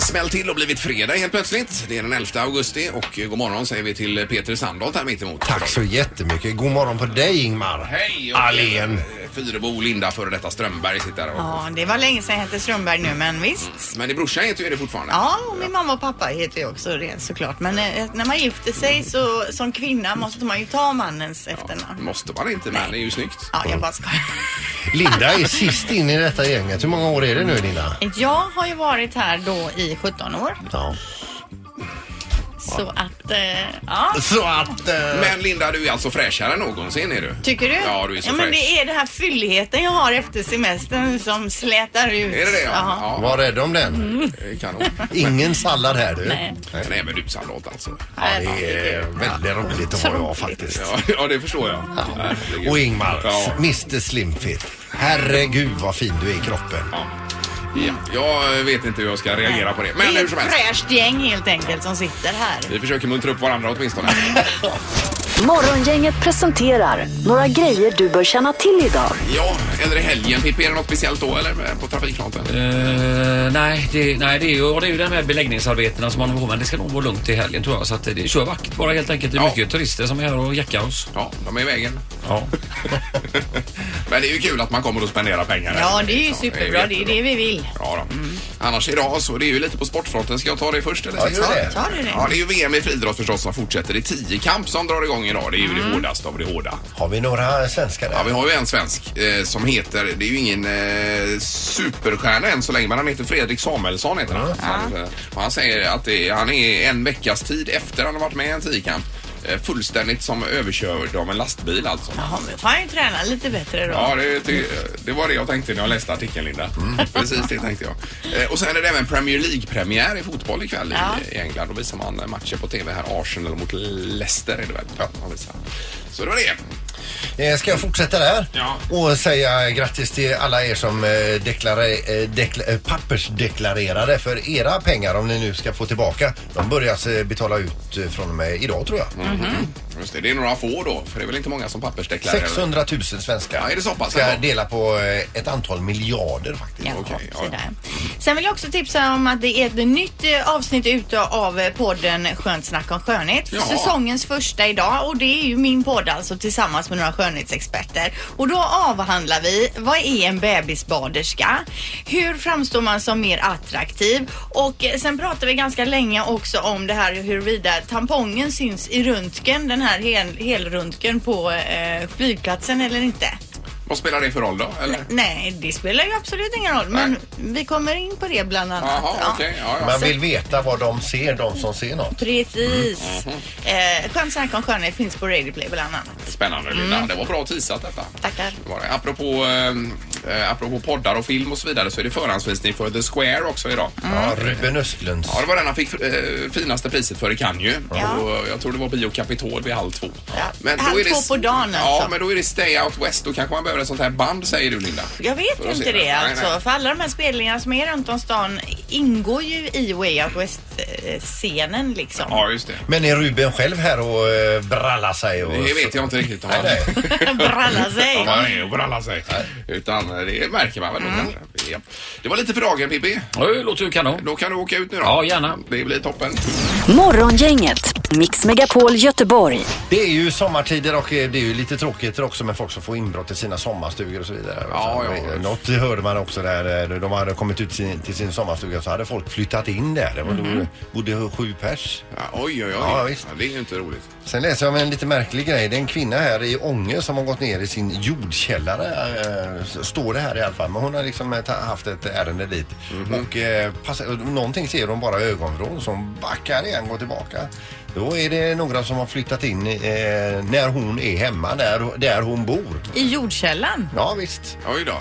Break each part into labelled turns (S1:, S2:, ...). S1: smäll eh, till och blivit fredag helt plötsligt. Det är den 11 augusti och eh, god morgon säger vi till Peter Sandholt här mittemot.
S2: Tack så jättemycket. God morgon på dig Ingmar.
S1: Hej! och-
S2: Allén.
S1: Eh, Fyrebo, Linda, före detta Strömberg sitter där. Och,
S3: Ja, det var länge sedan jag hette Strömberg nu, men visst.
S1: Men din brorsa heter ju det fortfarande.
S3: Ja, och min mamma och pappa heter ju också det såklart. Men eh, när man gifter sig så som kvinna måste man ju ta mannens efternamn.
S1: Måste man inte, men det är ju snyggt.
S3: Ja, jag bara skojar.
S2: Mm. Linda är sist in i detta gänget. Hur många år är det nu Linda?
S3: Jag har ju varit här då i 17 år.
S2: Ja.
S3: Så att, eh, ja.
S2: Så att... eh,
S1: Men Linda, du är alltså fräschare än någonsin är du.
S3: Tycker du?
S1: Ja, du är så
S3: ja,
S1: fräsch.
S3: men det är den här fylligheten jag har efter semestern som slätar ut.
S1: Är det det?
S3: Ja.
S1: Ja,
S2: Var rädd om den.
S1: ja kanon.
S2: Ingen sallad här du.
S3: Mm. Nej.
S1: Men även du Sandholt alltså.
S2: Ja, det är väldigt roligt att vara jag faktiskt.
S1: Ja, ja, det förstår jag. Herregud.
S2: Och Ingmar,
S1: Ja.
S2: Mr Slimfit. Herregud vad fin du är i kroppen.
S1: Ja, jag vet inte hur jag ska reagera på det. Men
S3: det är
S1: hur
S3: ett
S1: som helst.
S3: fräscht gäng helt enkelt som sitter här.
S1: Vi försöker muntra upp varandra åtminstone.
S4: Morgongänget presenterar några grejer du bör känna till idag.
S1: Ja, eller i helgen Pippi, är det något speciellt då eller eh, på trafikfronten?
S5: Eh, nej, det, nej det, är ju, och det är ju det här med beläggningsarbetena som man håller på med. Det ska nog vara lugnt i helgen tror jag. Så att det, kör vakt bara helt enkelt. Det är
S1: Ja.
S5: mycket turister som är här och jackar oss.
S1: Ja, de är i vägen.
S5: Ja.
S1: Men det är ju kul att man kommer att spendera pengar.
S3: Ja, det är ju
S1: Ja, liksom
S3: superbra. Det är
S1: jättebra.
S3: det vi vill.
S1: Ja, då. Annars idag så det är ju lite på sportfronten. Ska jag ta det först eller
S2: Ja,
S1: sist?
S2: gör det.
S3: Ta det nu.
S1: Ja, det är ju VM i friidrott förstås som fortsätter. Det är tiokamp som drar igång idag. Det är ju
S3: Mm.
S1: det hårdaste av det hårda.
S2: Har vi några svenskar
S1: Ja,
S2: där?
S1: vi har ju en svensk eh, som heter, det är ju ingen eh, superstjärna än så länge, men han heter Fredrik Samuelsson heter han. Han, eh, och han säger att det, är- han är en veckas tid efter han har varit med i en tiokamp eh, fullständigt som överkörd av en lastbil alltså.
S3: Jaha, men får han ju träna lite bättre då.
S1: Ja, det, det, det var det jag tänkte när jag läste artikeln, Linda. Mm, Precis det tänkte jag. Eh, Och sen är det även Premier League-premiär i fotboll ikväll i-
S3: Ja.
S1: i England. Då visar man eh, matcher på TV här. Arsenal mot Leicester är det väl? Ja. man visar. Så det var det.
S2: Eh, Ska jag fortsätta där?
S1: Ja.
S2: Och säga grattis till alla er som eh, deklarar- eh, dekla- eh, pappersdeklarerade för era pengar om ni nu ska få tillbaka. De börjar eh, betala ut eh, från och med idag tror jag.
S1: Mm-hmm.
S3: Mhm.
S1: Just det, det är några få då, för det är väl inte många som pappersdeklarerar?
S2: 600 000 svenskar.
S1: Ja, är det så pass?
S2: Ska dela på eh, ett antal miljarder faktiskt.
S3: Jaha,
S1: okej, ja.
S3: sådär. Sen vill jag också tipsa om att det är ett nytt eh, avsnitt ute av eh, podden Skönt snack om skönhet.
S1: Jaha.
S3: Säsongens första idag och det är ju min podd alltså tillsammans med några skönhetsexperter. Och då avhandlar vi vad är en bebisbaderska? Hur framstår man som mer attraktiv? Och eh, sen pratar vi ganska länge också om det här huruvida tampongen syns i röntgen, den här hel- helröntgen på eh, flygplatsen eller inte.
S1: Vad spelar det för roll då? Eller?
S3: Nej, det spelar ju absolut ingen roll. Men vi kommer in på det bland annat.
S1: Jaha,
S3: Ja.
S1: okej. Ja, ja.
S2: Man vill veta vad de ser, de som ser något.
S3: Precis.
S1: Mm.
S3: Eh, Skönt snack om skönhet finns på Radio Play bland annat.
S1: Spännande Linda. Det var bra teasat detta.
S3: Tackar.
S1: Det Var det. Apropå, eh, eh, apropå poddar och film och så vidare så är det förhandsvisning för The Square också idag.
S2: Ja, Ruben Östlunds.
S1: Ja, det var den han fick eh, finaste priset för i Cannes ju.
S3: Ja.
S1: Och jag tror det var Bio Capitol vid halv två.
S3: Ja. Halv två på dagen
S1: Ja,
S3: alltså.
S1: men då är det Stay Out West. Då kanske man behöver ett sånt här band säger du Linda.
S3: Jag vet
S1: Får jag se
S3: inte
S1: det?
S3: det
S1: Nej,
S3: alltså.
S1: nej.
S3: För alla de här spelningarna som är runt om stan ingår ju i Way Out West-scenen liksom.
S1: Ja, just det.
S2: Men är Ruben själv här och eh, brallar sig? Och
S1: Det vet jag inte riktigt om han
S2: Nej,
S3: Bralla sig.
S1: om han är och brallar sig. Utan eh, det märker man väl då
S3: Mm.
S1: kanske. Ja. Det var lite för dagen Pippi.
S5: Ja, det låter ju kanon.
S1: Då kan du åka ut nu då.
S5: Ja, gärna.
S1: Det blir toppen.
S4: Morgongänget, Mix Megapol Göteborg.
S2: Det är ju sommartider och eh, det är ju lite tråkigt också med folk som får inbrott i sina sommarstugor och så vidare.
S1: Ja,
S2: Så,
S1: ja.
S2: eh, Något hörde man också där, eh, de hade kommit ut sin, till sin sommarstuga så hade folk flyttat in där. Det var då bodde sju pers.
S1: Mhm. Ja, oj, oj, oj.
S2: Ja, visst.
S1: Ja, det är ju inte roligt.
S2: Sen läser jag om en lite märklig grej. Det är en kvinna här i Ånge som har gått ner i sin jordkällare. eh, s- Står det här i alla fall. Men hon har liksom eh, ta- haft ett ärende dit.
S1: Mhm.
S2: Och eh, passa, och någonting ser hon bara i ögonvrån så hon backar igen, går tillbaka. Då är det några som har flyttat in eh, när hon är hemma, där, där hon bor.
S3: I jordkällan.
S2: Ja visst,
S1: Oj då.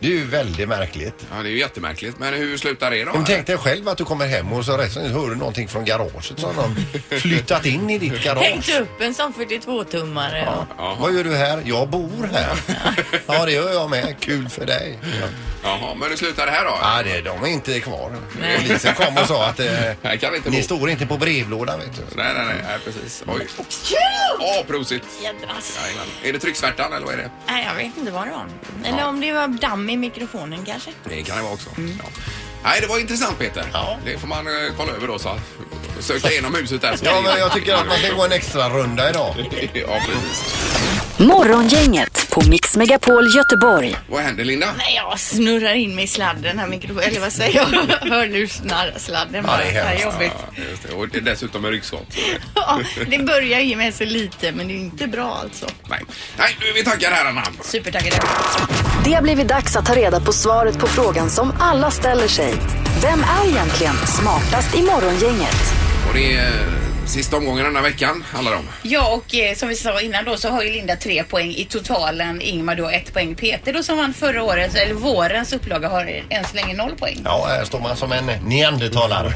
S2: det är ju väldigt märkligt.
S1: Ja, det är ju jättemärkligt. Men hur slutar det då?
S2: Men tänk dig själv att du kommer hem och så resten hör du någonting från garaget som någon flyttat in i ditt garage.
S3: Hängt upp en sån 42-tummare. Ja.
S2: Vad gör du här? Jag bor här. ja, det gör jag med. Kul för dig.
S1: Jaha, men hur slutar det här då?
S2: Ja, det, de är inte kvar. Polisen kom och sa att eh,
S1: Här kan vi inte bo.
S2: ni står inte på brevlådan, vet du.
S1: Nej, nej, nej, nej, precis. Oj. Åh, prosit.
S3: Jädras.
S1: Jajamän. Är det trycksvärtan eller vad är det?
S3: Nej, jag vet inte vad det var. Eller om det var damm i mikrofonen kanske.
S1: Det kan det vara också. Ja. Nej, det var intressant Peter.
S2: Ja.
S1: Det får man eh, kolla över då. Så. Söka igenom huset där. så-
S2: Ja, men jag tycker att man ska gå en extra runda idag.
S1: ja, precis.
S4: Morgongänget på Mix Megapol Göteborg.
S1: Vad händer Linda?
S3: Nej, jag snurrar in mig i sladden här mikrofonen, eller vad säger jag? Hörlursnar-sladden
S2: Ja,
S3: bara.
S2: det är
S3: det, här
S2: hemskt.
S3: jobbigt.
S1: Ja, just det. Och det är dessutom en ryggskott.
S3: Ja, det börjar ge mig så lite men det är inte bra alltså.
S1: Nej. Nej, nu är vi taggade herrarna.
S3: Supertaggade.
S4: Det har blivit dags att ta reda på svaret på frågan som alla ställer sig. Vem är egentligen smartast i morgongänget?
S1: Och det är eh, sista omgången den här veckan handlar det om.
S6: Ja och eh, som vi sa innan då så har ju Linda tre poäng i totalen. Ingmar då ett poäng. Peter då som vann förra årets, eller vårens upplaga har än så länge noll poäng.
S2: Ja, här står man som en neandertalare.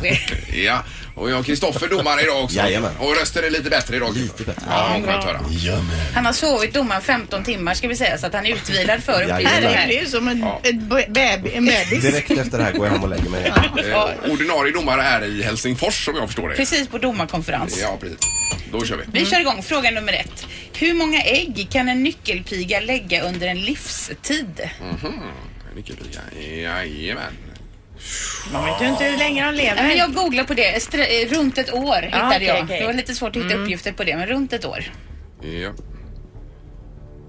S1: Ja, och jag Kristoffer domare idag också.
S7: Jajamän.
S1: Och röster är lite bättre idag.
S7: Lite bättre.
S1: Ja, skönt att höra.
S2: Jajamän.
S6: Han har sovit domaren 15 timmar ska vi säga så att han är utvilad för
S7: Jajamän.
S6: uppgiften
S3: Herregud, det
S6: här.
S3: är ju som en, en, bebis, en bebis.
S7: Direkt efter det här går jag hem och lägger mig.
S1: Eh, ordinarie domare är i Helsingfors som jag förstår det.
S6: Precis på domarkonferens.
S1: Ja, precis. Då kör vi.
S6: Vi kör igång fråga nummer ett. Hur många ägg kan en nyckelpiga lägga under en livstid?
S1: Nyckelpiga. Mhm. Jajamän.
S3: Man vet ju inte hur länge de
S6: Nej, men
S3: lever. Ah,
S6: jag googlade på det. Stra- eh, runt ett år hittade
S3: okej,
S6: jag.
S3: okej. Mm.
S6: Det var lite svårt att hitta uppgifter på det, men runt ett år.
S1: Ja.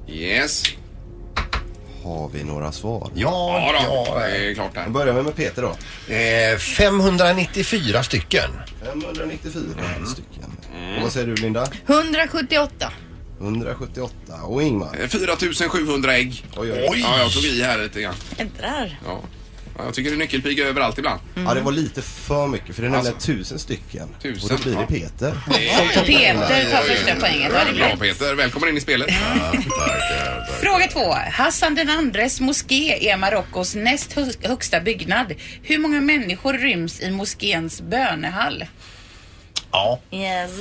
S1: Yes.
S7: Har vi några svar?
S2: Ja,
S1: Ja, då.
S2: ja.
S1: det är klart där.
S7: Då börjar vi med Peter då.
S2: Eh, 594 stycken.
S7: 594 stycken. Och vad säger du Linda?
S3: 178.
S7: 178. Och Ingmar?
S1: 4700 ägg.
S7: Oj, oj, oj.
S1: Ja, jag tog i här lite grann.
S3: Ändrar.
S1: Ja. Ja, Jag tycker det är nyckelpiga överallt ibland.
S7: Ja, det var lite för mycket för det är nämligen
S1: Alltså.
S7: tusen stycken.
S1: Tusen,
S7: och då blir
S1: ja.
S7: det Peter.
S6: Peter tar första poängen. Ja, det är
S1: Mm. Bra
S6: bra.
S1: Peter, välkommen in i spelet.
S6: Fråga två. Hassan den andres moské är Marockos näst hö- högsta byggnad. Hur många människor ryms i moskéns bönehall
S2: Ja.
S3: Yes.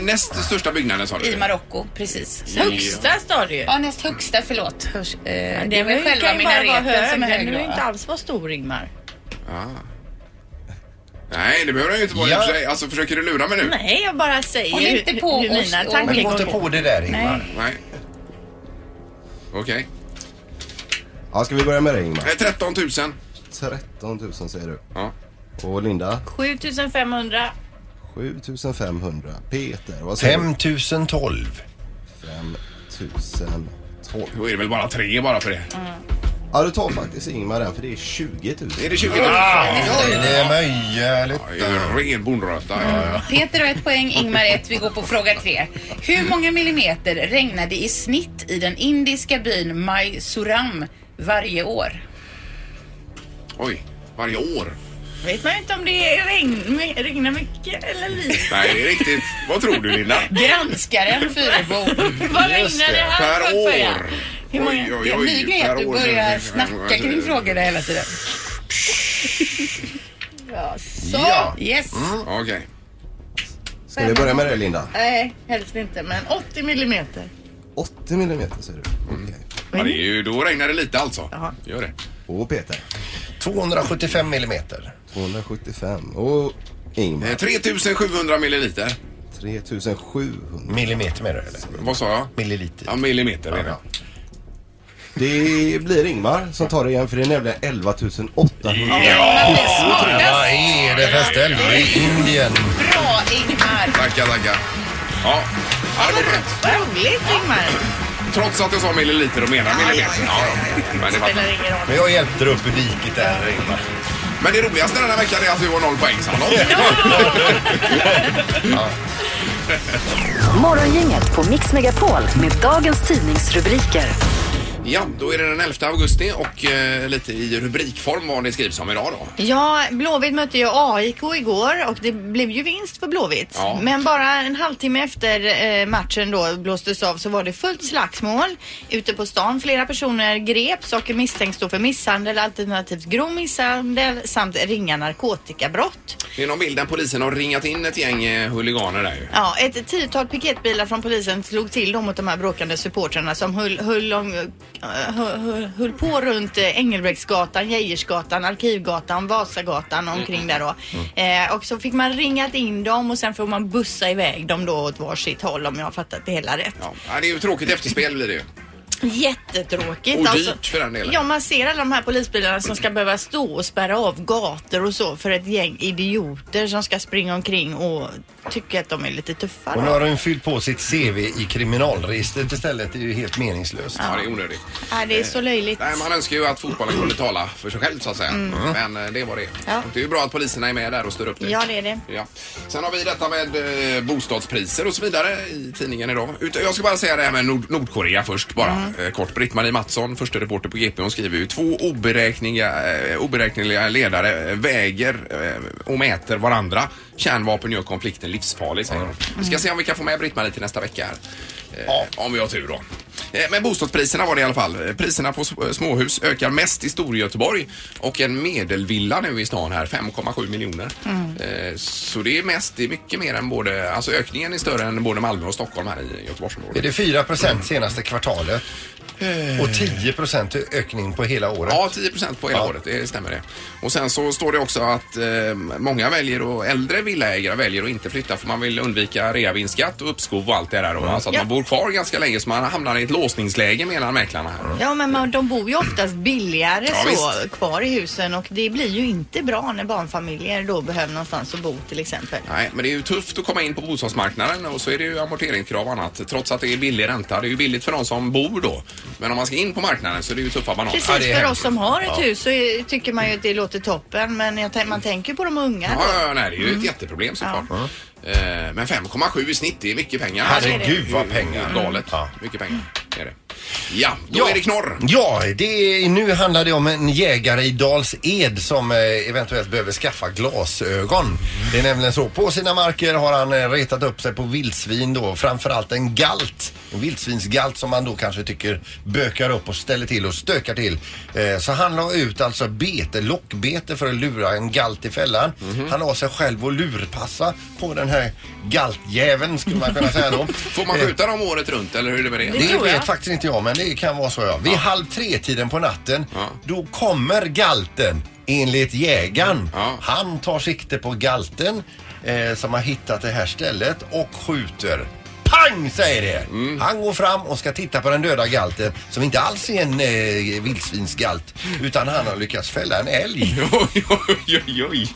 S1: Näst största byggnaden sa du?
S6: i Marocko? Precis.
S3: Högsta står det ju.
S6: Ja, näst högsta, förlåt. Hörs, eh, det
S3: Det
S6: är väl själva minareten som är
S3: Den
S6: hög
S3: behöver ju inte
S6: då.
S3: alls vara stor Ingmar.
S1: Ah. Nej, det behöver den ju inte vara i
S2: Ja.
S1: och för sig. Alltså, försöker du lura mig nu?
S3: Nej, jag bara säger
S6: Håll inte på
S3: hur
S6: oss
S3: mina
S6: och-
S2: Men
S3: tankar
S2: gå
S3: går.
S2: inte
S3: på.
S2: på det där Ingmar.
S1: Nej. Okej.
S7: Ja, ska vi börja med dig Ingmar?
S1: Eh, 13 000.
S7: 13 000 säger du.
S1: Ja.
S7: Och Linda?
S3: 7500.
S7: 7500. Peter, vad säger
S2: 5012.
S7: du? 5012.
S1: Då är det väl bara tre bara för det.
S8: Mm.
S7: Ja, du tar faktiskt Ingmar den för det är 20 000.
S1: Är det 20 000? Ja,
S2: Är Ah, det möjligt?
S1: det är ju ren bondröta. Ja, ja.
S6: Peter har ett poäng, Ingmar ett. Vi går på fråga tre. Hur många millimeter regnade i snitt i den indiska byn Mysuram varje år?
S1: Oj, varje år.
S3: Vet man ju inte om det regn, regnar mycket eller lite.
S1: Nej, det är riktigt. Vad tror du Linda?
S6: Granskaren Fyrebo.
S2: Mm.
S3: Vad regnar det här
S1: Per
S3: för, får jag?
S1: år.
S3: Hur många-
S1: Oj,
S6: Det
S1: oj,
S6: är en ny
S1: oj.
S6: grej att
S1: Per Alltså,
S6: du
S1: år.
S6: börjar snacka kring frågorna hela tiden.
S3: Så.
S2: Ja.
S6: Yes.
S2: Mm.
S1: Okej.
S7: Ska vi börja med dig Linda?
S3: Nej, helst inte. Men 80 millimeter.
S7: 80 millimeter säger du.
S1: Mm.
S7: Okej.
S1: Ja, det är ju, då regnar det lite alltså.
S3: Jaha.
S1: Gör det.
S7: Och Peter?
S2: 275 millimeter.
S7: 275. Och
S1: Eh,
S7: Ingmar?
S1: 3700 milliliter.
S7: 3700.
S2: Millimeter menar du eller?
S1: Vad sa jag?
S2: Milliliter.
S1: Ja, millimeter är det.
S7: Det blir Ingmar som tar det igen för det är nämligen 11 800.
S2: Vad är det för ställe i Indien?
S6: Bra Ingmar.
S1: Tackar, tackar. Ja. ja, det var skönt.
S3: Vad roligt Ingmar.
S1: Trots att jag sa milliliter och menar millimeter. Ja, ja. Men, det var...
S3: Spelar ingen roll.
S2: Men jag hjälpte dig upp i diket där Ingmar.
S1: Men det roligaste den här veckan är att vi har noll poäng sammanlagt.
S4: Morgongänget på Mix Megapol med dagens tidningsrubriker.
S1: Ja, då är det den 11 augusti och eh, lite i rubrikform vad det skrivs om idag då.
S3: Ja, Blåvitt mötte ju AIK igår och det blev ju vinst för Blåvitt.
S1: Ja.
S3: Men bara en halvtimme efter eh, matchen då blåstes av så var det fullt slagsmål ute på stan. Flera personer greps och misstänks då för misshandel alternativt grov misshandel samt ringa narkotikabrott.
S1: Det är någon bild där polisen har ringat in ett gäng eh, huliganer där ju.
S3: Ja, ett tiotal piketbilar från polisen slog till dem mot de här bråkande supportrarna som höll, höll, om, eh, höll, höll- höll på runt eh, Engelbrektsgatan, Geijersgatan, Arkivgatan, Vasagatan
S1: Mm.
S3: omkring där då. Eh, och så fick man ringat in dem och sen får man bussa iväg dem då åt varsitt håll om jag har fattat det hela rätt.
S1: Ja, ja, det är ju tråkigt efterspel blir det ju.
S3: Jättetråkigt. alltså.
S1: Och dyrt för den delen.
S3: Ja, man ser alla de här polisbilarna som ska behöva stå och spärra av gator och så för ett gäng idioter som ska springa omkring och tycka att de är lite tuffa.
S2: Och nu
S3: då.
S2: har hon fyllt på sitt CV i kriminalregistret istället. Det är ju helt meningslöst.
S1: Ja, det är onödigt.
S3: Nej, det är så löjligt.
S1: Nej, man önskar ju att fotbollen kunde tala för sig själv så att säga. Men eh, det var det.
S3: Mm. Ja.
S1: Det är ju bra att poliserna är med där och styr upp det.
S3: Ja, det är det.
S1: Ja. Sen har vi detta med eh, bostadspriser och så vidare i tidningen idag. Ut- Jag ska bara säga det här med Nord Nordkorea först bara. Eh, Kort. Britt-Marie Mattsson, första reporter på GP, hon skriver ju två oberäkneliga, eh, oberäkneliga ledare eh, väger eh, och mäter varandra. Kärnvapen gör konflikten livsfarlig, säger hon. Vi ska se om vi kan få med Britt-Marie till nästa vecka här. Eh, Om vi har tur då. Eh, Men bostadspriserna var det i alla fall. Eh, Priserna på s- eh, småhus ökar mest i Storgöteborg och en medelvilla nu i stan här, 5,7 miljoner. Eh, Så det är mest, det är mycket mer än både, alltså ökningen är större än både Malmö och Stockholm här i
S2: Är
S1: Göteborgsområdet.
S2: det 4 senaste kvartalet? Och 10 ökning på hela året?
S1: Ja, 10 procent på hela
S2: Ja.
S1: året, det stämmer det. Och sen så står det också att eh, många väljer och äldre villaägare väljer att inte flytta för man vill undvika reavinstskatt och uppskov och allt det där. då. Alltså
S3: Mm.
S1: att
S3: Ja.
S1: man bor kvar ganska länge så man hamnar i ett låsningsläge menar mäklarna här.
S3: Ja, men man, de bor ju oftast billigare
S1: Ja,
S3: så
S1: visst.
S3: kvar i husen och det blir ju inte bra när barnfamiljer då behöver någonstans att bo till exempel.
S1: Nej, men det är ju tufft att komma in på bostadsmarknaden och så är det ju amorteringskrav och annat trots att det är billig ränta. Det är ju billigt för de som bor då. Men om man ska in på marknaden så är det ju tuffa bananer.
S3: Precis,
S2: Ja, det är
S3: för
S2: hemskt.
S3: oss som har ett hus så är, tycker man ju att det låter toppen men jag, tän- man tänker på de unga
S1: Ja,
S3: då.
S1: ja, ja, nej, det är ju ett jätteproblem såklart. Eh, Men 5,7 i snitt, det är mycket pengar.
S2: Herregud
S1: Det är
S2: vad pengar.
S1: Galet.
S2: Ja.
S1: Mycket pengar är det. Ja, då är det knorr.
S2: Ja, det är, nu handlar det om en jägare i Dals Ed som eh, eventuellt behöver skaffa glasögon. Det är nämligen så, på sina marker har han eh, retat upp sig på vildsvin då, framförallt en galt. En vildsvinsgalt som man då kanske tycker bökar upp och ställer till och stökar till. Eh, så han la ut alltså bete, lockbete för att lura en galt i fällan.
S1: Mhm.
S2: Han la sig själv och lurpassa på den här galtjäveln skulle man kunna säga då. Eh.
S1: Får man skjuta dem året runt eller hur är det med det?
S2: Det
S3: tror jag.
S2: vet faktiskt inte jag, men det kan vara så ja. Vid halv tre-tiden på natten,
S1: Ja.
S2: då kommer galten enligt jägaren.
S1: Ja.
S2: Han tar sikte på galten eh, som har hittat det här stället och skjuter. Pang säger det! Han går fram och ska titta på den döda galten som inte alls är en eh, vildsvinsgalt utan han har lyckats fälla en älg.
S1: Oj, oj, oj, oj.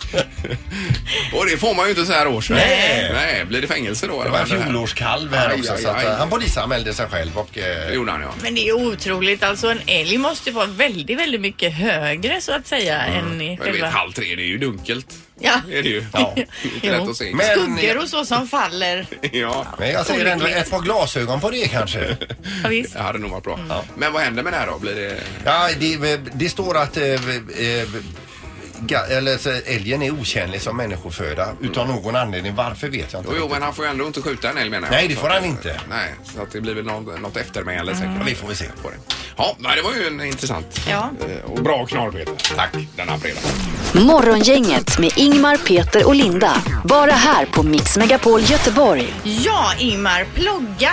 S1: Och det får man ju inte så här års. va?
S2: Nej.
S1: Nej, blir det fängelse då?
S2: Det
S1: eller
S2: var en
S1: vad händer här?
S2: fjolårskalv här
S1: Aj,
S2: också
S1: aj,
S2: så att, eh,
S1: aj.
S2: han polisanmälde sig själv och
S1: Det
S2: eh,
S1: gjorde han ja.
S3: Men det är otroligt alltså en älg måste ju vara väldigt, väldigt mycket högre så att säga än i
S1: Mm. Jag vet,
S3: själva...
S1: halv tre, det är ju dunkelt.
S3: Ja.
S1: Det är det ju.
S2: Ja.
S1: Inte lätt att se.
S2: Men-
S3: Skuggor och så som faller.
S1: ja.
S2: men jag säger ändå ett par glasögon på det kanske.
S3: Ja, visst.
S1: Det hade nog varit bra.
S3: Mm.
S1: Men vad händer med det här då? Blir det...
S2: Ja, det, det står att eh, eh, ga- eller, så, älgen är otjänlig som människoföda utav någon anledning. Varför vet jag inte.
S1: Jo, jo,
S2: riktigt.
S1: men han får ju ändå inte skjuta en älg menar jag.
S2: Nej, det
S1: Så
S2: får
S1: att-
S2: han inte. Mm.
S1: Nej, så att det blir väl något, något eftermäle säkert.
S2: Ja, det får vi se.
S1: På det. Ja, nej, det var ju en intressant
S3: Ja.
S1: eh, och bra knorr Peter. Tack denna fredag.
S4: Morgongänget med Ingmar, Peter och Linda. Bara här på Mix Megapol Göteborg.
S3: Ja, Ingmar. Plogga.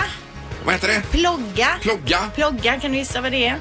S1: Vad heter det?
S3: Plogga.
S1: Plogga.
S3: Plogga, kan du gissa vad det är?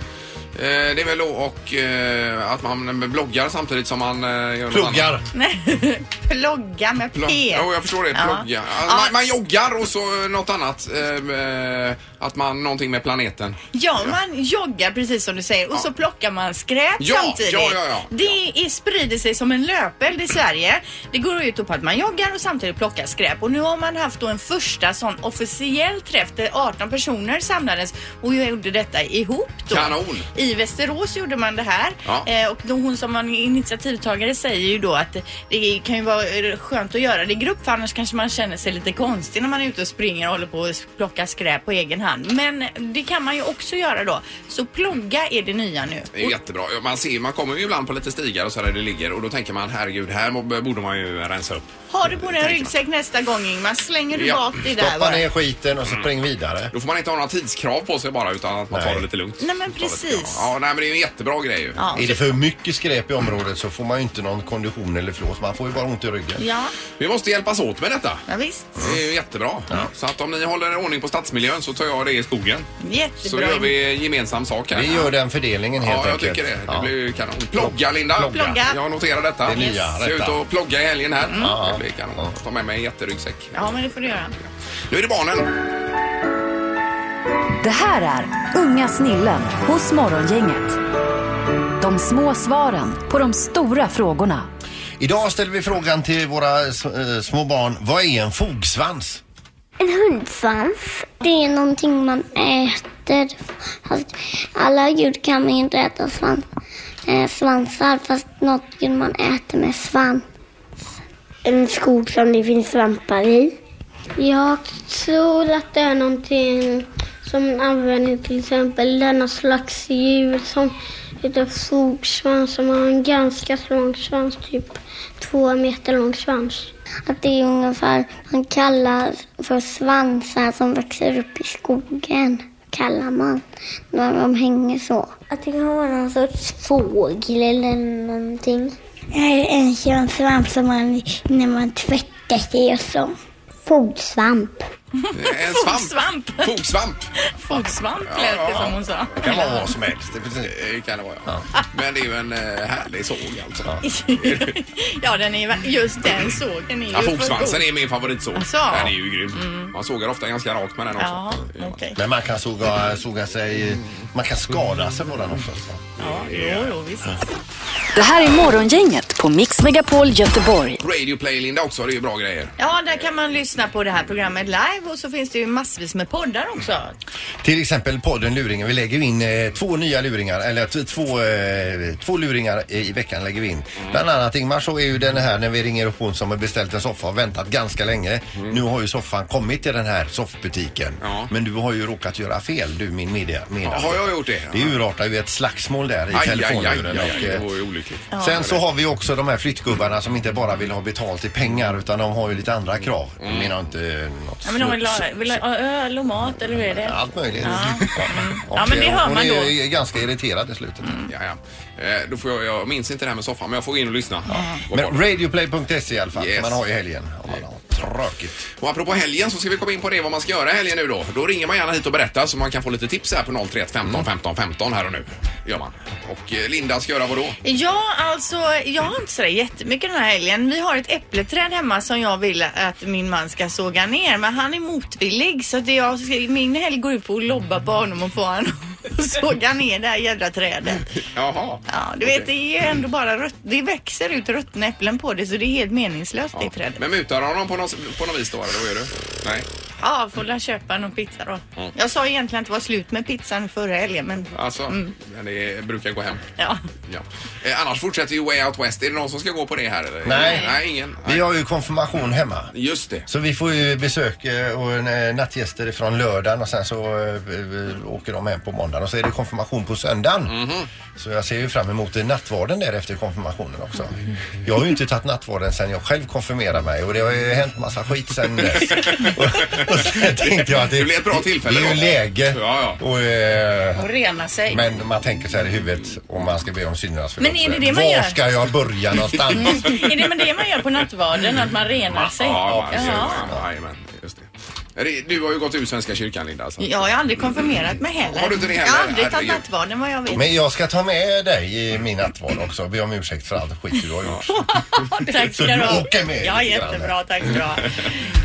S1: Eh, det är väl då och eh, att man bloggar samtidigt som man eh, gör något
S2: Pluggar.
S1: annat.
S3: Nej, plogga med
S1: Plo-
S3: P.
S1: Jo, jag förstår det.
S3: E. Ja.
S1: Plogga. Ah,
S3: Ja.
S1: Man, man joggar och så eh, något annat. Eh, eh, att man, någonting med planeten.
S3: Ja, man joggar precis som du säger och så plockar man skräp
S1: Ja,
S3: samtidigt.
S1: ja, ja, ja.
S3: Det är, sprider sig som en löpeld i Sverige. Det går ut på att man joggar och samtidigt plockar skräp. Och nu har man haft då en första sån officiell träff där 18 personer samlades och gjorde detta ihop då.
S1: Kanon.
S3: I Västerås gjorde man det här.
S1: Ja.
S3: Eh, och då hon som var initiativtagare säger ju då att det kan ju vara eh, skönt att göra det i grupp för annars kanske man känner sig lite konstig när man är ute och springer och håller på att plocka skräp på egen hand. Men det kan man ju också göra då. Så plogga är det nya nu.
S1: Det är jättebra. Ja, Man, ser, man kommer ju ibland på lite stigar och så där det ligger och då tänker man herregud, här må- borde man ju rensa upp.
S3: Har du på dig en
S1: Tänker
S3: ryggsäck nästa gång Ingmar, slänger du
S1: Ja. Mm.
S3: bak det där
S2: Stoppa
S3: bara.
S2: ner skiten och så spring vidare.
S1: Då får man inte ha några tidskrav på sig bara utan att man
S2: Nej.
S1: tar det lite lugnt.
S3: Nej, men
S1: Tar det lite-
S3: precis.
S1: Ja, nej, men det är ju en jättebra grej ju.
S3: Ja.
S2: Är det för mycket skräp i området så får man ju inte någon kondition eller flås. Man får ju bara ont i ryggen.
S3: Ja,
S1: Vi måste hjälpas åt med detta.
S3: ja visst.
S1: Det är
S2: Mm.
S1: ju jättebra. Så att om ni håller ordning på stadsmiljön så tar jag det i skogen.
S3: Jättebra.
S1: Så gör vi gemensam sak här.
S2: Vi gör den fördelningen helt
S1: Ja, jag
S2: enkelt.
S1: tycker det. Det
S2: Ja.
S1: blir ju kanon. Plogga, Linda.
S2: Plogga.
S3: Plogga.
S1: Jag noterar detta.
S2: Det är nya,
S1: Ska ut
S2: rätta.
S1: och plogga i helgen här. Det blir kanon.
S2: Ja.
S1: Ta med mig en jätteryggsäck.
S3: Ja, men det får du göra.
S1: Nu är det barnen.
S4: Det här är Unga snillen hos Morgongänget. De små svaren på de stora frågorna.
S2: Idag ställer vi frågan till våra s- eh, små barn. Vad är en fogsvans?
S8: En hundsvans, det är någonting man äter. Fast alla djur kan man ju inte äta svans, eh, svansar, fast något djur man äter med svans. En skog som det finns svampar i. Jag tror att det är någonting som man använder till exempel denna slags djur som heter fogsvans som har en ganska lång svans, typ två meter lång svans. Att det är ungefär man kallar för svansar som växer upp i skogen kallar man när de hänger så. Att det kan vara någon sorts fågel eller någonting. Det här är en sån svamp som man, när man tvättar sig och så. Fogsvamp.
S1: Eh, En svamp.
S3: Fogsvamp.
S1: Fogsvamp.
S3: Fogsvamp lät det som hon sa.
S2: Det kan vara vad som helst. Det är precis-
S1: Eh, kan det vara, ja. Men det är ju en eh, härlig såg alltså.
S3: ja, den är ju- just den sågen är ju
S1: Ja,
S3: för
S1: fogsvansen
S3: god.
S1: är min favoritsåg.
S3: Alltså. Mm.
S1: Den är ju grym. Man sågar ofta ganska rakt med den också.
S3: Ja, okej.
S2: Men man kan såga, såga sig, man kan skada sig på den också.
S3: Ja, jo, jo, visst.
S4: Det här är Morgongänget på Mix Megapol Göteborg.
S1: Radio Play Linda också, det är ju bra grejer.
S3: Ja, där kan man lyssna på det här programmet live och så finns det ju massvis med poddar också.
S2: Till exempel podden Luringen. Vi lägger in eh, två nya luringar, eller t- två, eh, två luringar i i veckan lägger vi in.
S1: Mm.
S2: Bland annat Ingmar så är ju den här när vi ringer upp hon som har beställt en soffa och väntat ganska länge. Nu har ju soffan kommit till den här soffbutiken.
S1: Mm. Ja.
S2: Men du har ju råkat göra fel du min media. media.
S1: Ja, har jag gjort det?
S2: Det urartar ju ett slagsmål där i
S1: Aj, aj, aj, aj,
S2: telefonluren.
S1: aj,
S2: och,
S1: det
S2: eh,
S1: var ju olyckligt.
S2: Sen så har vi också de här flyttgubbarna som inte bara vill ha betalt i pengar utan de har ju lite andra krav.
S1: Mm.
S2: Jag menar inte eh, något
S3: Ja, men de vill
S2: smuts.
S3: ha, vill ha öl och mat eller hur är det?
S2: Allt möjligt.
S3: Ja.
S2: Och,
S3: Ja, men det
S2: eh,
S3: hör
S2: hon
S3: man
S2: är ju ganska irriterad i slutet.
S1: Ja, ja. Eh, Då får jag, jag minns inte det här med soffan, men jag får gå in och lyssna. Vad bra.
S2: Men radioplay.se i alla fall.
S1: Yes.
S2: Man har ju helgen om man har tråkigt.
S1: Och apropå helgen så ska vi komma in på det vad man ska göra i helgen nu då. Då ringer man gärna hit och berättar så man kan få lite tips här på 031 15 15 15 här och nu. Gör man. Och eh, Linda ska göra vad då?
S3: Ja, alltså jag har inte sådär jättemycket den här helgen. Vi har ett äppleträd hemma som jag vill att min man ska såga ner men han är motvillig så att det jag, ska- min helg går ut på att lobba på honom och få honom att såga ner det här jädra trädet.
S1: Jaha.
S3: Ja, du vet det är ju ändå bara rött, det växer ut ruttna äpplen på det så det är helt meningslöst typ. det trädet.
S1: Men mutar honom på något, på något vis då eller vad gör du? Nej. Mm.
S3: Ja, får väl köpa någon pizza då. Jag sa egentligen att det var slut med pizzan förra helgen men
S1: Alltså, men det brukar gå hem.
S3: Mm. ja.
S1: Ja. Eh, annars fortsätter ju Way Out West. Är det någon som ska gå på det här? Eller?
S2: Nej.
S1: Nej, ingen. Nej.
S2: Vi har ju konfirmation hemma.
S1: Just det.
S2: Så vi får ju besök eh, och en, eh, nattgäster från lördagen och sen så eh, eh, åker de hem på måndagen och så är det konfirmation på söndagen.
S1: Mhm.
S2: Så jag ser ju fram emot eh, nattvarden där efter konfirmationen också. Jag har ju inte tagit nattvarden sen jag själv konfirmerade mig och det har ju hänt massa skit sen dess. och, och sen tänkte jag att det,
S1: Det blir ett bra tillfälle
S2: Det är ju
S1: då.
S2: läge
S1: Ja, ja.
S2: Och, eh,
S6: Och rena sig.
S2: men man tänker så här i huvudet om man ska be om syndernas
S3: Men är det
S2: förlåtelse.
S3: det man
S2: Var
S3: gör?
S2: ska jag börja någonstans?
S3: Är det men det man gör på nattvarden, att man renar sig?
S1: Ja, ja,
S3: Jaha.
S1: ja. ja, just det. Re- Du har ju gått ur Svenska kyrkan Linda. Så.
S3: Jag har ju aldrig konfirmerat mig heller.
S1: Har du inte det heller?
S3: Jag har aldrig tagit
S1: Herregud.
S3: nattvarden vad jag vet.
S2: Men jag ska ta med dig i min nattvard också. Be om ursäkt för all skit du har gjort.
S3: tack ska
S2: Så
S3: du
S2: du
S3: ha.
S2: åker med
S3: Ja,
S2: lite grann
S3: jättebra. Tack ska du ha.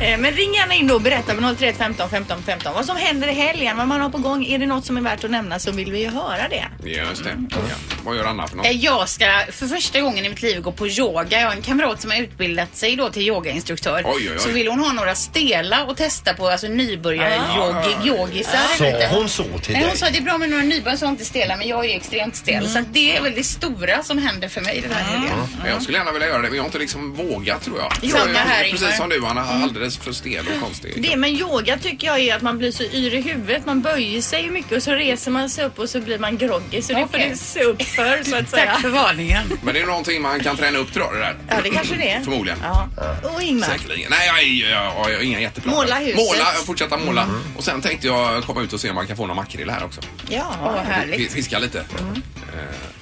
S3: Eh, Men ring gärna in då och berätta på 031 15 15 15 vad som händer i helgen, vad man har på gång. Är det något som är värt att nämna så vill vi ju höra det.
S1: Just det.
S3: Mm.
S1: Ja. Vad gör Anna för något?
S6: Eh, Jag ska för första gången i mitt liv gå på yoga. Jag har en kamrat som har utbildat sig då till yogainstruktör.
S1: Oj, oj, oj.
S6: Så vill hon ha några stela och testa på, alltså
S1: Ah.
S6: nybörjare-yogisar.
S2: Sa hon så till
S6: Nej,
S2: dig?
S6: hon sa det är bra med några nybörjare som inte är stela, men jag är ju extremt stel. Så
S1: Mm.
S6: att det är väl det stora som händer för mig den
S1: Ah.
S6: här helgen.
S1: Men Jag skulle gärna vilja göra det, men jag har inte liksom vågat tror jag.
S6: Samma
S1: jag är
S6: här, Ingmar.
S1: precis som du, Anna. Alldeles för stel och konstig.
S3: Mm. Det med yoga tycker jag är att man blir så yr i huvudet. Man böjer sig ju mycket och så reser man sig upp och så blir man groggy. Så det får
S6: Okej.
S3: du se upp för så att säga.
S6: Tack för varningen.
S1: Men det är någonting man kan träna upp tror jag det där.
S3: Ja, det kanske det är.
S1: Förmodligen.
S3: Ja. Och Ingmar.
S1: Säkerligen. Nej, jag, jag, jag, jag har inga jätteplaner.
S3: Måla huset. Mm.
S1: Måla, fortsätta måla. Och sen tänkte jag komma ut och se om man kan få någon makrill här också.
S3: Ja.
S6: Åh, vad
S1: F-
S6: härligt.
S1: Fiska lite.
S3: Mm.
S1: Eh,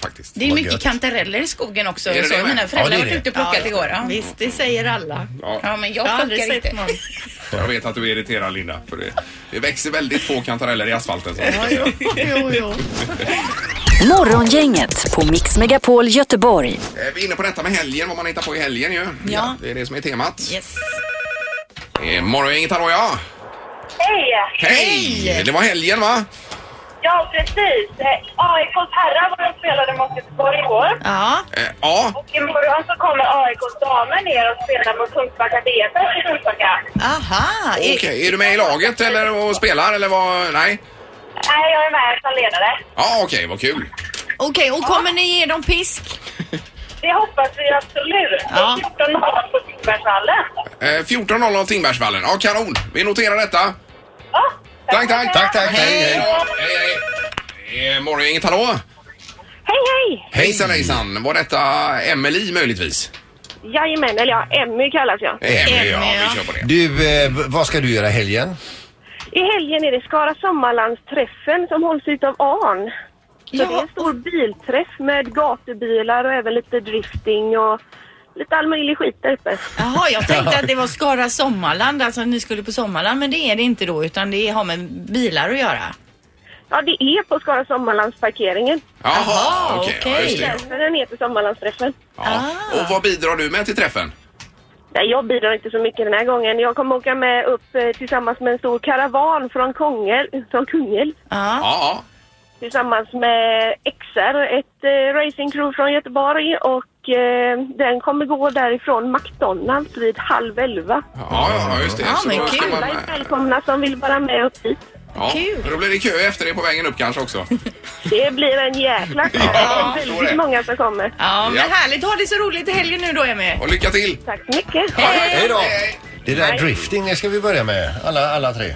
S1: faktiskt.
S6: Det är mycket
S2: gött.
S6: kantareller i skogen också.
S1: Är det
S6: så
S1: det med?
S6: mina
S2: Ja, det
S6: föräldrar
S2: är
S6: har varit
S2: det.
S6: ute och plockat
S3: Ja,
S6: igår. Ja.
S3: Visst, det säger alla.
S6: ja, men jag
S3: Jag har aldrig
S6: plockar
S3: sett
S6: inte.
S3: någon.
S1: Jag vet att du är irriterad Linda. För det, det växer väldigt få kantareller i asfalten. Så.
S3: Jo, jo.
S4: Morgongänget på Mix Megapol Göteborg.
S1: Eh, Vi är inne på detta med helgen, vad man hittar på i helgen ju.
S3: Ja.
S1: Det är det som är temat.
S3: Yes.
S1: Eh, Morgongänget, hallå ja!
S9: Hej!
S1: Hej! Det var helgen va?
S9: Ja, precis. Eh, AIKs herrar var de spelade mot Göteborg igår.
S3: Ja.
S1: Eh, ja,
S9: Och imorgon så kommer AIKs damer ner och spelar mot Kungsbacka BFF i Kungsbacka.
S3: Aha.
S1: okej. Är du med i laget eller och spelar eller vad? Nej?
S9: Nej, jag är med som ledare.
S1: Ja, okej, vad kul.
S3: Okej, och kommer ni ge dem pisk?
S9: Det hoppas vi absolut.
S3: Ja.
S9: 14.00 på Tingbergsvallen.
S1: Eh, 14.00 Tingbergsvallen. Ja, kanon. Vi noterar detta.
S9: Ja,
S1: Tack, tack.
S2: Tack, tack. Hej,
S1: Hej,
S2: hej.
S1: då. hej. hej. Eh, Morgongänget, hallå?
S9: Hej, hej!
S1: Hejsan, hejsan. Var detta Emily möjligtvis?
S9: Jajamän, eller ja, Emmy kallas jag.
S1: Emily, ja.
S3: Emily, ja.
S1: Vi kör på det.
S2: Du, eh, v- vad ska du göra i helgen?
S9: I helgen är det Skara Sommarlandsträffen som hålls utav ARN. Så det är en stor bilträff med gatubilar och även lite drifting och lite all möjlig skit där uppe.
S3: Jaha, jag tänkte att det var Skara Sommarland, alltså att ni skulle på Sommarland, men det är det inte då utan det har med bilar att göra.
S9: Ja, det är på Skara Sommarlandsparkeringen.
S1: Jaha,
S3: Jaha,
S1: okej. Ja,
S3: okej.
S1: just det.
S9: Därför den heter Sommarlandsträffen.
S1: Ja. Och vad bidrar du med till träffen?
S9: Nej, jag bidrar inte så mycket den här gången. Jag kommer åka med upp eh, tillsammans med en stor karavan från, Kongel, från Kungälv.
S3: Ja.
S1: Ja,
S9: tillsammans med XR, ett eh, racingcrew från Göteborg och eh, den kommer gå därifrån McDonalds vid halv elva.
S1: ja, ja, ja just det.
S3: Ja,
S1: Så
S3: men
S1: då
S3: kul.
S1: ska man-
S9: Alla är välkomna som vill vara med upp dit.
S1: Ja,
S3: Kul.
S1: Då blir det kö efter det på vägen upp kanske också.
S9: Det blir en jäkla kö.
S1: Ja,
S9: Det är
S1: så är det.
S9: väldigt många som kommer.
S3: Ja, men
S1: Ja.
S3: härligt. Ha det så roligt i helgen nu då, Emmy.
S1: Och lycka till!
S9: Tack så mycket.
S2: Hej då. Det där drifting det ska vi börja med, alla, alla tre.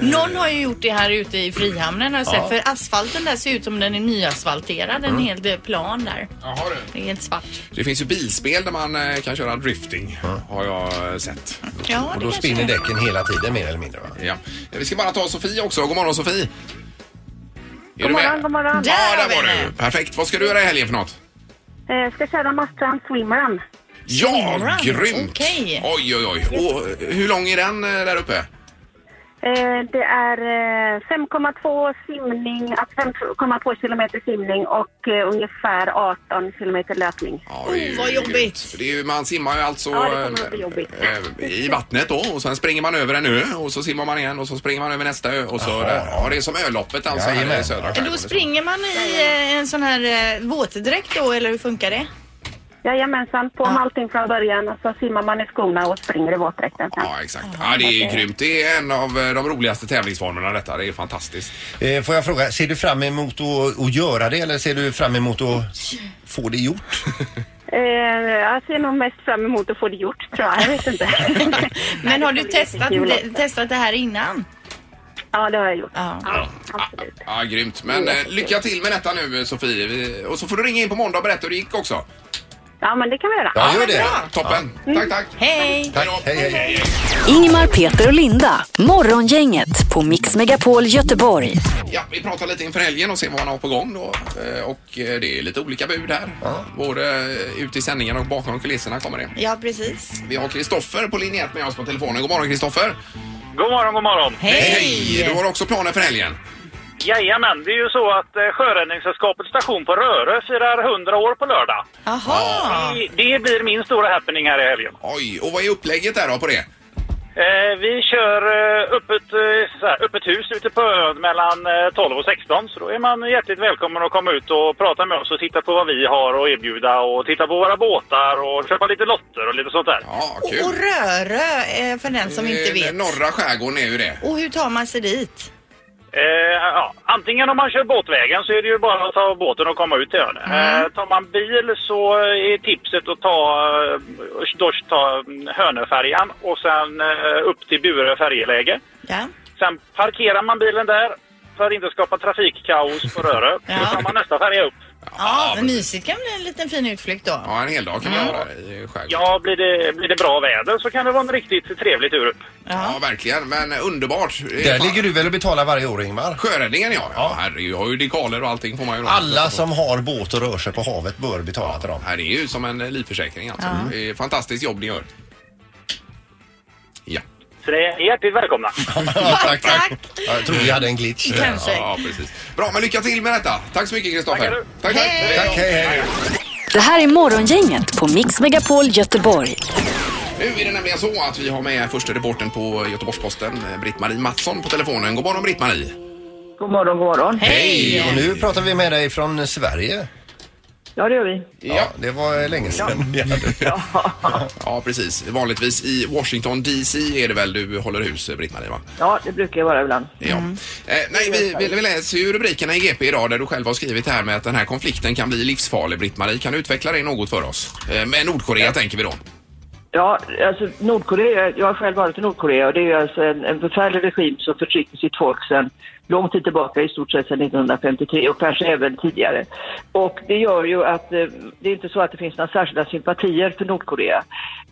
S3: Någon har ju gjort det här ute i Frihamnen har jag sett. För asfalten där ser ut som den är nyasfalterad. En hel eh, plan där.
S1: Jaha, Mm. du.
S3: Det är helt svart.
S1: Det finns ju bilspel där man eh, kan köra drifting, har jag eh, sett.
S3: Ja,
S2: Och
S3: det
S2: då
S3: kanske
S2: spinner
S3: är.
S2: däcken hela tiden mer eller mindre va?
S1: Ja. Vi ska bara ta Sofie också. God morgon Sofie! Är
S9: God morgon, god morgon.
S3: Där
S1: Ja,
S3: har
S1: där
S3: vi
S1: var
S3: henne.
S1: du! Perfekt. Vad ska du göra i helgen för något?
S9: Eh, ska köra Mastran Swimrun.
S1: Ja,
S3: Swimrun.
S1: grymt!
S3: Okej.
S1: Oj, oj, oj. Och eh, hur lång är den eh, där uppe?
S9: Eh, det är eh, 5,2 simning, att 5,2 kilometer simning och eh, ungefär 18 kilometer löpning.
S1: Ja,
S3: Oh, vad jobbigt.
S1: grymt. För Det är ju, man simmar ju alltså
S9: Ja, det kommer att bli
S1: eh,
S9: jobbigt.
S1: eh, i vattnet då och sen springer man över en ö och så simmar man igen och så springer man över nästa ö och så...
S2: Jaha.
S1: Ja, det är som öloppet alltså här i
S2: Jajamän.
S1: södra
S3: Då
S1: skärgården.
S3: springer man i eh, en sån här eh, våtdräkt då, eller hur funkar det?
S9: Jajamensan, på med allting från början och så simmar man i skorna och springer i våtdräkten sen.
S1: Ja, exakt. Ja, det är grymt. Det är en av eh, de roligaste tävlingsformerna detta. Det är fantastiskt.
S2: Eh, får jag fråga, ser du fram emot att, att göra det eller ser du fram emot att få det gjort?
S9: Eh, jag ser nog mest fram emot att få det gjort, tror jag. Jag vet inte.
S3: Men har
S9: det
S3: du
S9: ska bli
S3: testat,
S9: jättekul
S3: det, testat det här innan?
S9: ja, det har jag gjort.
S3: Ja.
S9: Ja,
S1: Ja,
S9: absolut.
S1: ja, grymt. Men eh, lycka till med detta nu, eh, Sofie. Vi- Och så får du ringa in på måndag och berätta hur det gick också.
S9: Ja, men det kan vi göra.
S2: Ja, gör det.
S1: Toppen. Tack, tack.
S3: Hej!
S2: Tack,
S1: då.
S2: hej, hej.
S4: Ingemar, Peter och Linda. Morgongänget på Mix Megapol Göteborg.
S1: Ja, vi pratar lite inför helgen och ser vad man har på gång då. Eh, Och eh, det är lite olika bud här. Både eh, ute i sändningen och bakom kulisserna kommer det.
S3: Ja, precis.
S1: Vi har Kristoffer på linje 1 med oss på telefonen. God morgon Kristoffer!
S10: God morgon, god morgon.
S3: Hej!
S1: Du har också planer för helgen?
S10: Jajamän, det är ju så att eh, Sjöräddningssällskapets station på Rörö firar 100 år på lördag.
S3: Jaha!
S10: Det- Det blir min stora happening här i helgen.
S1: Ah. Oj, och vad är upplägget där då på det?
S10: Eh, vi kör eh, öppet, eh, så här, öppet hus ute på ön mellan eh, 12 och 16. Så då är man hjärtligt välkommen att komma ut och prata med oss och titta på vad vi har att erbjuda och titta på våra båtar och köpa lite lotter och lite sånt där.
S1: Ja,
S3: Och, och
S1: kul.
S3: Rörö, eh, för den som inte
S1: Eh,
S3: vet.
S1: Norra skärgården är ju det.
S3: Och hur tar man sig dit?
S10: Eh, ja, antingen om man kör båtvägen så är det ju bara att ta båten och komma ut till ön.
S3: Mm.
S10: Eh, tar man bil så är tipset att ta, eh, då, ta mm, Hönöfärjan och sen eh, upp till Burö färjeläge.
S3: Ja.
S10: Sen parkerar man bilen där för att inte skapa trafikkaos på Rörö.
S3: Ja.
S10: Då tar man nästa färja upp.
S3: Ja, men Mm. mysigt kan bli en liten fin utflykt då.
S1: Ja, en hel dag kan man göra i skärgården.
S10: Ja, blir det, blir det bra väder så kan det vara en riktigt trevlig tur upp.
S1: Ja,
S3: Ja.
S1: verkligen. Men eh, underbart.
S2: Där ligger du väl och betalar varje år Ingmar?
S1: Sjöräddningen, ja. ja. Herregud, jag har ju dekaler och allting får man ju. då.
S2: Alla som har båt och rör sig på havet bör betala till dem.
S1: Här är ju som en livförsäkring alltså. Det är fantastiskt jobb ni gör. Ja,
S10: Så det är hjärtligt välkomna.
S2: Ja, tack,
S3: tack.
S2: Jag tror vi hade en glitch.
S3: Kanske.
S1: ja precis. Bra, men lycka till med detta. Tack så mycket
S10: Tackar
S1: Kristoffer.
S10: du.
S1: Tack,
S2: Tack, hej, hej.
S4: Det här är Morgongänget på Mix Megapol Göteborg.
S1: Nu är det nämligen så att vi har med första reporten på Göteborgs-Posten, eh, Britt-Marie Mattsson på telefonen. God morgon Britt-Marie!
S11: God morgon, god morgon.
S1: Hej!
S2: Och nu pratar vi med dig från Sverige.
S11: Ja, det gör vi.
S2: Ja, det var länge sedan.
S1: Ja. ja, precis. Vanligtvis i Washington DC är det väl du håller hus, eh, Britt-Marie? Va?
S11: Ja, det brukar jag vara ibland.
S1: Ja. Eh, nej, vi, vi, vi läser ju rubrikerna i GP idag där du själv har skrivit här med att den här konflikten kan bli livsfarlig, Britt-Marie. Kan du utveckla det något för oss? Eh, med Nordkorea tänker vi då.
S11: Ja, alltså Nordkorea, jag har själv varit i Nordkorea och det är ju alltså en, en förfärlig regim som förtrycker sitt folk sedan lång tid tillbaka, i stort sett sedan 1953 och kanske även tidigare. Och det gör ju att eh, det är inte så att det finns några särskilda sympatier för Nordkorea.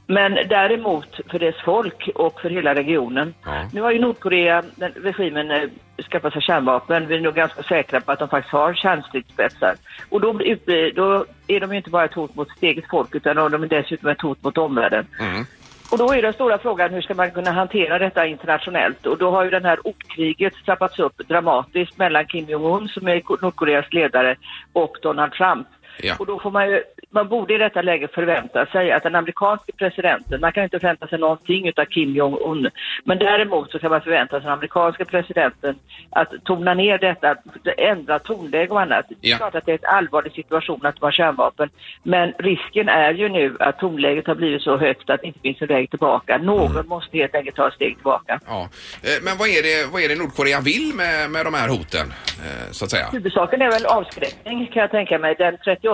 S11: Men däremot för dess folk och för hela regionen. Nu har ju Nordkorea, den, regimen, eh, skaffat sig kärnvapen. Vi är nog ganska säkra på att de faktiskt har kärnstridsspetsar. Och då, blir- blir- då är de ju inte bara ett hot mot sitt eget folk utan de är dessutom ett hot mot omvärlden.
S1: Mm,
S11: Och då är den stora frågan hur ska man kunna hantera detta internationellt? Och då har ju den här ordkriget trappats upp dramatiskt mellan Kim Jong-Un som är Nordkoreas ledare och Donald Trump.
S1: Ja.
S11: Och då får man ju, man borde i detta läge förvänta sig att den amerikanske presidenten, man kan ju inte förvänta sig någonting utav Kim Jong-Un, men däremot så kan man förvänta sig den amerikanske presidenten att tona ner detta, ändra tonläge och annat. Det
S12: Ja.
S11: är klart att det är en allvarlig situation att de har kärnvapen, men risken är ju nu att tonläget har blivit så högt att det inte finns en väg tillbaka. Någon måste helt enkelt ta ett steg tillbaka.
S1: Mm. Ja. Eh, Men vad är det, vad är det Nordkorea vill med, med de här hoten, eh, så att säga?
S11: Huvudsaken är väl avskräckning kan jag tänka mig. Den 38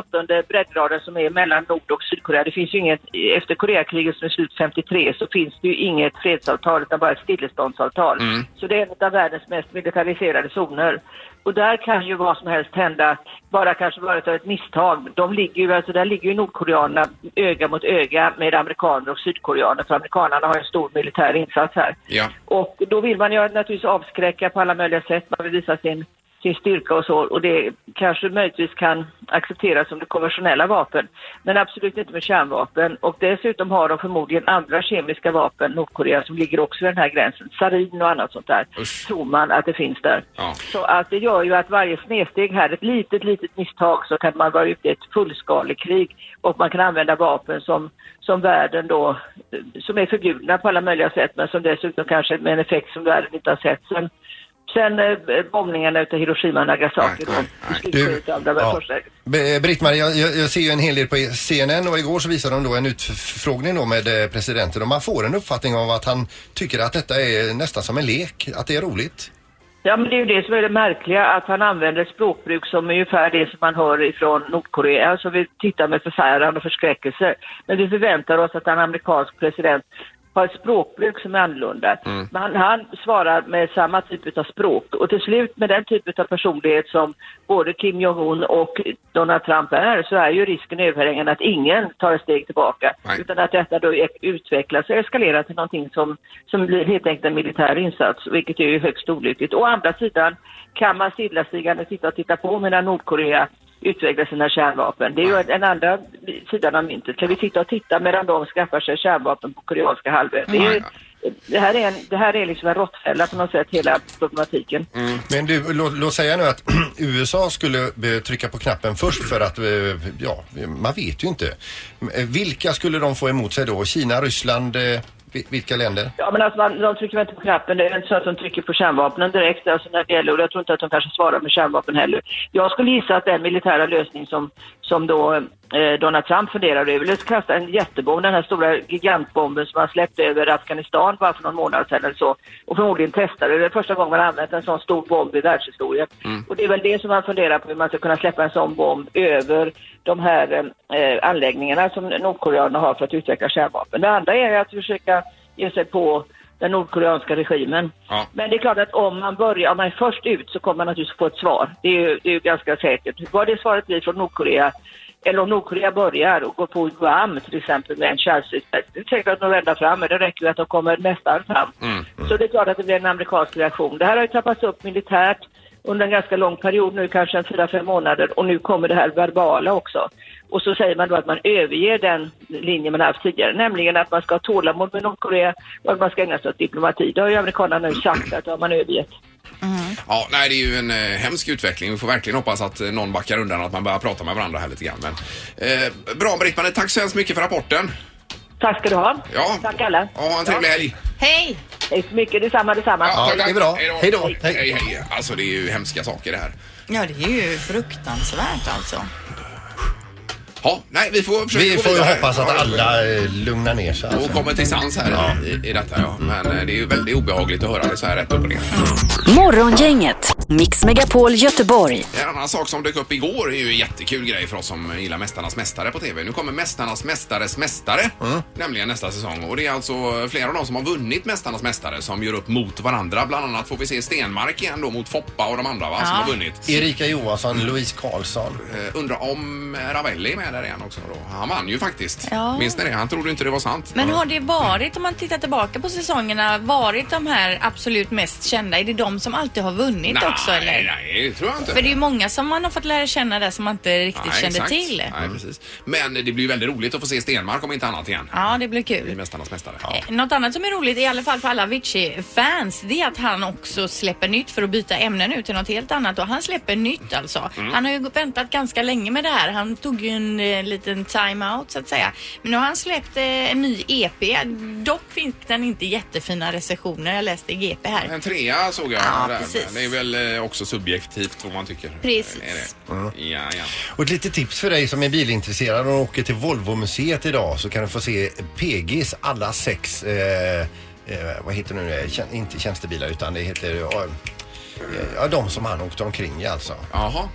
S11: breddgraden som är mellan Nord och Sydkorea. Det finns ju inget, efter Koreakriget som är slut 53 så finns det ju inget fredsavtal utan bara ett stilleståndsavtal.
S12: Mm.
S11: Så det är en av världens mest militariserade zoner. Och där kan ju vad som helst hända, bara kanske varit av ett misstag. De ligger ju, alltså där ligger ju nordkoreanerna öga mot öga med amerikaner och sydkoreaner för amerikanerna har ju en stor militär insats här.
S1: Ja.
S11: Och då vill man ju naturligtvis avskräcka på alla möjliga sätt. Man vill visa sin, sin styrka och så. Och det kanske möjligtvis kan accepteras som det konventionella vapen. Men absolut inte med kärnvapen. Och dessutom har de förmodligen andra kemiska vapen, Nordkorea, som ligger också i den här gränsen. Sarin och annat sånt där. Tror man att det finns där. Så att det gör ju att varje snedsteg här, ett litet, litet misstag så kan man vara ute i ett fullskalekrig och man kan använda vapen som, som världen då, eh, som är förbjudna på alla möjliga sätt men som dessutom kanske med en effekt som världen inte har sett sen, sen eh, bombningarna utav Hiroshima och Nagasaki då, i slutet av det
S2: ja.
S11: första
S2: B- eh, Britt-Marie, jag, jag jag ser ju en hel del på e- CNN och igår så visade de då en utfrågning då med eh, presidenten och man får en uppfattning av att han tycker att detta är nästan som en lek, att det är roligt.
S11: Ja, men det är ju det som är det märkliga, att han använder ett språkbruk som är ungefär det som man hör ifrån Nordkorea, som vi tittar med förfäran och förskräckelse. Men vi förväntar oss att en amerikansk president har ett språkbruk som är annorlunda.
S12: Mm.
S11: Men han, han svarar med samma typ av språk och till slut med den typ av personlighet som både Kim Jong-Un och Donald Trump är så är ju risken överhängande att ingen tar ett steg tillbaka utan att detta då e- utvecklas och eskalerar till någonting som, som blir helt enkelt en militär insats vilket är ju högst olyckligt. Å andra sidan kan man stillatigande sitta och titta på medan Nordkorea utvecklar sina kärnvapen. Det är ju den andra sidan av myntet. Kan vi sitta och titta medan de skaffar sig kärnvapen på koreanska halvön? Det är ju det här är, en, det här är liksom en råttfälla på något sätt, hela problematiken.
S1: Mm.
S2: Men du, låt, låt säga nu att USA skulle eh, trycka på knappen först för att, eh, ja, man vet ju inte. Eh, Vilka skulle de få emot sig då? Kina, Ryssland, eh, vi- vilka länder?
S11: Ja, men alltså, man, de trycker väl inte på knappen. Det är inte så att de trycker på kärnvapnen direkt. Alltså, när det gäller, och jag tror inte att de kanske svarar med kärnvapen heller. Jag skulle gissa att den militära lösning som, som då, eh, Donald Trump funderar över, det är att kasta en jättebomb, den här stora gigantbomben som han släppte över Afghanistan bara för någon månad sedan eller så. Och förmodligen testade. Det är första gången man har använt en sån stor bomb i världshistorien.
S1: mm.
S11: Och det är väl det som man funderar på, hur man ska kunna släppa en sån bomb över de här eh, anläggningarna som Nordkoreanerna har för att utveckla kärnvapen. Det andra är ju att försöka ge sig på den nordkoreanska regimen.
S12: Ja.
S11: Men det är klart att om man börjar, om man är först ut så kommer man naturligtvis få ett svar. Det är ju, det är ju ganska säkert. Vad det svaret blir från Nordkorea, eller om Nordkorea börjar och går på Guam till exempel med en kärnstridsspets, det är inte säkert att de vänder fram, men det räcker ju att de kommer nästan fram.
S1: Mm.
S11: Så det är klart att det blir en amerikansk reaktion. Det här har ju trappats upp militärt under en ganska lång period nu, kanske en fyra, fem månader och nu kommer det här verbala också. Och så säger man då att man överger den linje man haft tidigare, nämligen att man ska ha tålamod med Nordkorea och att man ska ägna sig åt diplomati. Det har ju amerikanerna nu sagt att det har man övergett.
S1: Ja, nej, det är ju en eh, hemsk utveckling. Vi får verkligen hoppas att eh, någon backar undan och att man börjar prata med varandra här lite grann. Men, eh, bra Britt-Marie, tack så hemskt mycket för rapporten.
S11: Tack ska du ha.
S1: Ja.
S11: Tack alla.
S1: Ja, en trevlig helg.
S3: Hej!
S11: Hej så mycket. Detsamma, detsamma.
S1: Hej då. Hej, hej. Alltså det är ju hemska saker det här.
S3: Ja, det är ju fruktansvärt alltså.
S1: Ja, nej, vi får försöka
S2: Vi
S1: gå
S2: får ju
S1: vidare.
S2: hoppas att
S1: Ja,
S2: alla eh, lugnar ner sig. alltså.
S1: Och kommer till sans här i, i detta ja. Men eh, det är ju väldigt obehagligt att höra det så här rätt upp och ner.
S4: Morgongänget, Mix Megapol Göteborg.
S1: En annan sak som dök upp igår är ju en jättekul grej för oss som gillar Mästarnas Mästare på TV. Nu kommer Mästarnas Mästares Mästare, nämligen nästa säsong. Och det är alltså flera av dem som har vunnit Mästarnas Mästare som gör upp mot varandra. Bland annat får vi se Stenmark igen då mot Foppa och Alltså, de andra va, som har vunnit.
S2: Erika Johansson, Louise Karlsson.
S1: Eh, Undrar om Ravelli är med där igen också då. Han vann ju faktiskt.
S3: Ja.
S1: Minns ni det? Han trodde inte det var sant.
S3: Men har det varit, om man tittar tillbaka på säsongerna, varit de här absolut mest kända? Är det de som alltid har vunnit
S1: nej,
S3: också eller?
S1: Nej, det tror jag inte.
S3: För det är ju många som man har fått lära känna där som man inte riktigt
S1: Nej,
S3: kände
S1: exakt.
S3: till. Mm.
S1: Nej, precis. Men det blir ju väldigt roligt att få se Stenmark om inte annat igen.
S3: Ja, det blir kul. Eh,
S1: I Mästarnas Mästare.
S3: Något annat som är roligt, i alla fall för alla Avicii-fans, det är att han också släpper nytt för att byta ämne nu till något helt annat. Och han släpper nytt alltså.
S12: Mm.
S3: Han har ju väntat ganska länge med det här. Han tog ju en eh, liten time-out så att säga. Men nu har han släppt eh, en ny EP. Dock fick den inte jättefina recensioner. Jag läste i GP här.
S1: En trea såg jag.
S3: Ja,
S1: där.
S3: precis.
S1: Det är väl eh, också subjektivt vad man tycker. Eh,
S3: Precis.
S1: Är det? Ja, ja.
S2: Och ett litet tips för dig som är bilintresserad och åker till Volvo-museet idag så kan du få se PGs alla sex, eh, eh, vad heter nu det, Tjän- inte tjänstebilar utan det heter, ja, eh, ja de som han åkte omkring i alltså.
S1: Jaha.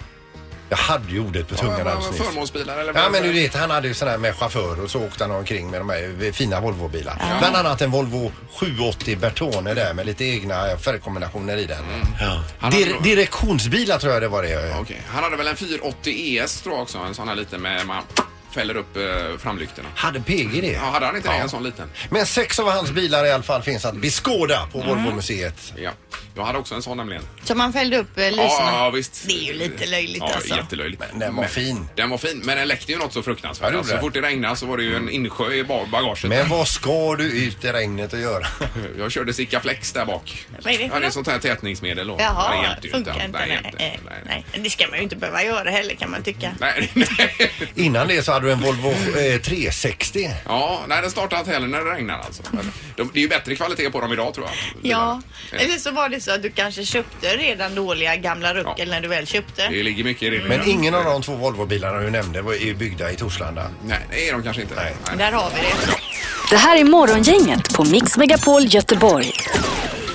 S2: Jag hade ju ordet på tungan
S1: Vad-
S2: alldeles
S1: vad-
S2: nyss.
S1: Förmånsbilar eller
S2: Ja
S1: vad-
S2: men du vet han hade ju sån här med chaufför och så åkte han omkring med de här eh, fina Volvobilar. Bland annat en Volvo 780 Bertone där med lite egna färgkombinationer i den.
S1: Mm. Han hade
S2: Dir-
S1: då-
S2: direktionsbilar tror jag det var det.
S1: Okej. Han hade väl en 480 ES tror jag också. En sån här liten med man fäller upp eh, framlyktorna.
S2: Hade PG det?
S1: Ja, hade han inte det?
S2: Ja.
S1: En sån liten? Mm.
S2: Men sex av hans bilar i alla fall finns att beskåda på Volvo-museet.
S1: Ja. Jag hade också en sån nämligen.
S3: Så man fällde upp eh, lyserna.
S1: Ja, ja, visst.
S3: Det är ju lite löjligt
S1: Ja,
S3: alltså.
S1: jättelöjligt. Men
S2: den var fin.
S1: Den var fin, men den läckte ju något så
S2: Ja,
S1: fruktansvärt.
S2: det gjorde
S1: alltså, så
S2: den.
S1: fort det regnade så var det ju en insjö i ba- bagaget.
S2: Men vad ska du ut i regnet och göra?
S1: Jag körde Sika Flex där bak.
S3: Vad är det för
S1: Ja, det är
S3: något?
S1: sånt här tätningsmedel. då. Men det
S3: Jaha,
S1: hjälpte ju
S3: funkar inte.
S1: Nej,
S3: Nej, nej, nej. Det ska man ju inte behöva göra heller kan man tycka.
S1: Nej,
S2: Innan det så hade du en Volvo eh, 360.
S1: Ja, nej, den startar inte heller när det regnar alltså. Men de, det är ju bättre kvalitet på dem idag tror jag.
S3: Ja, eller så var det så att du kanske köpte redan dåliga gamla ruckel när du väl köpte.
S1: Det ligger mycket i det.
S2: Men ingen av de två Volvobilarna du nämnde var är byggda i Torslanda.
S1: Nej, det är de kanske inte. Nej.
S3: Där har vi det.
S4: Det här är Morgongänget på Mix Megapol Göteborg.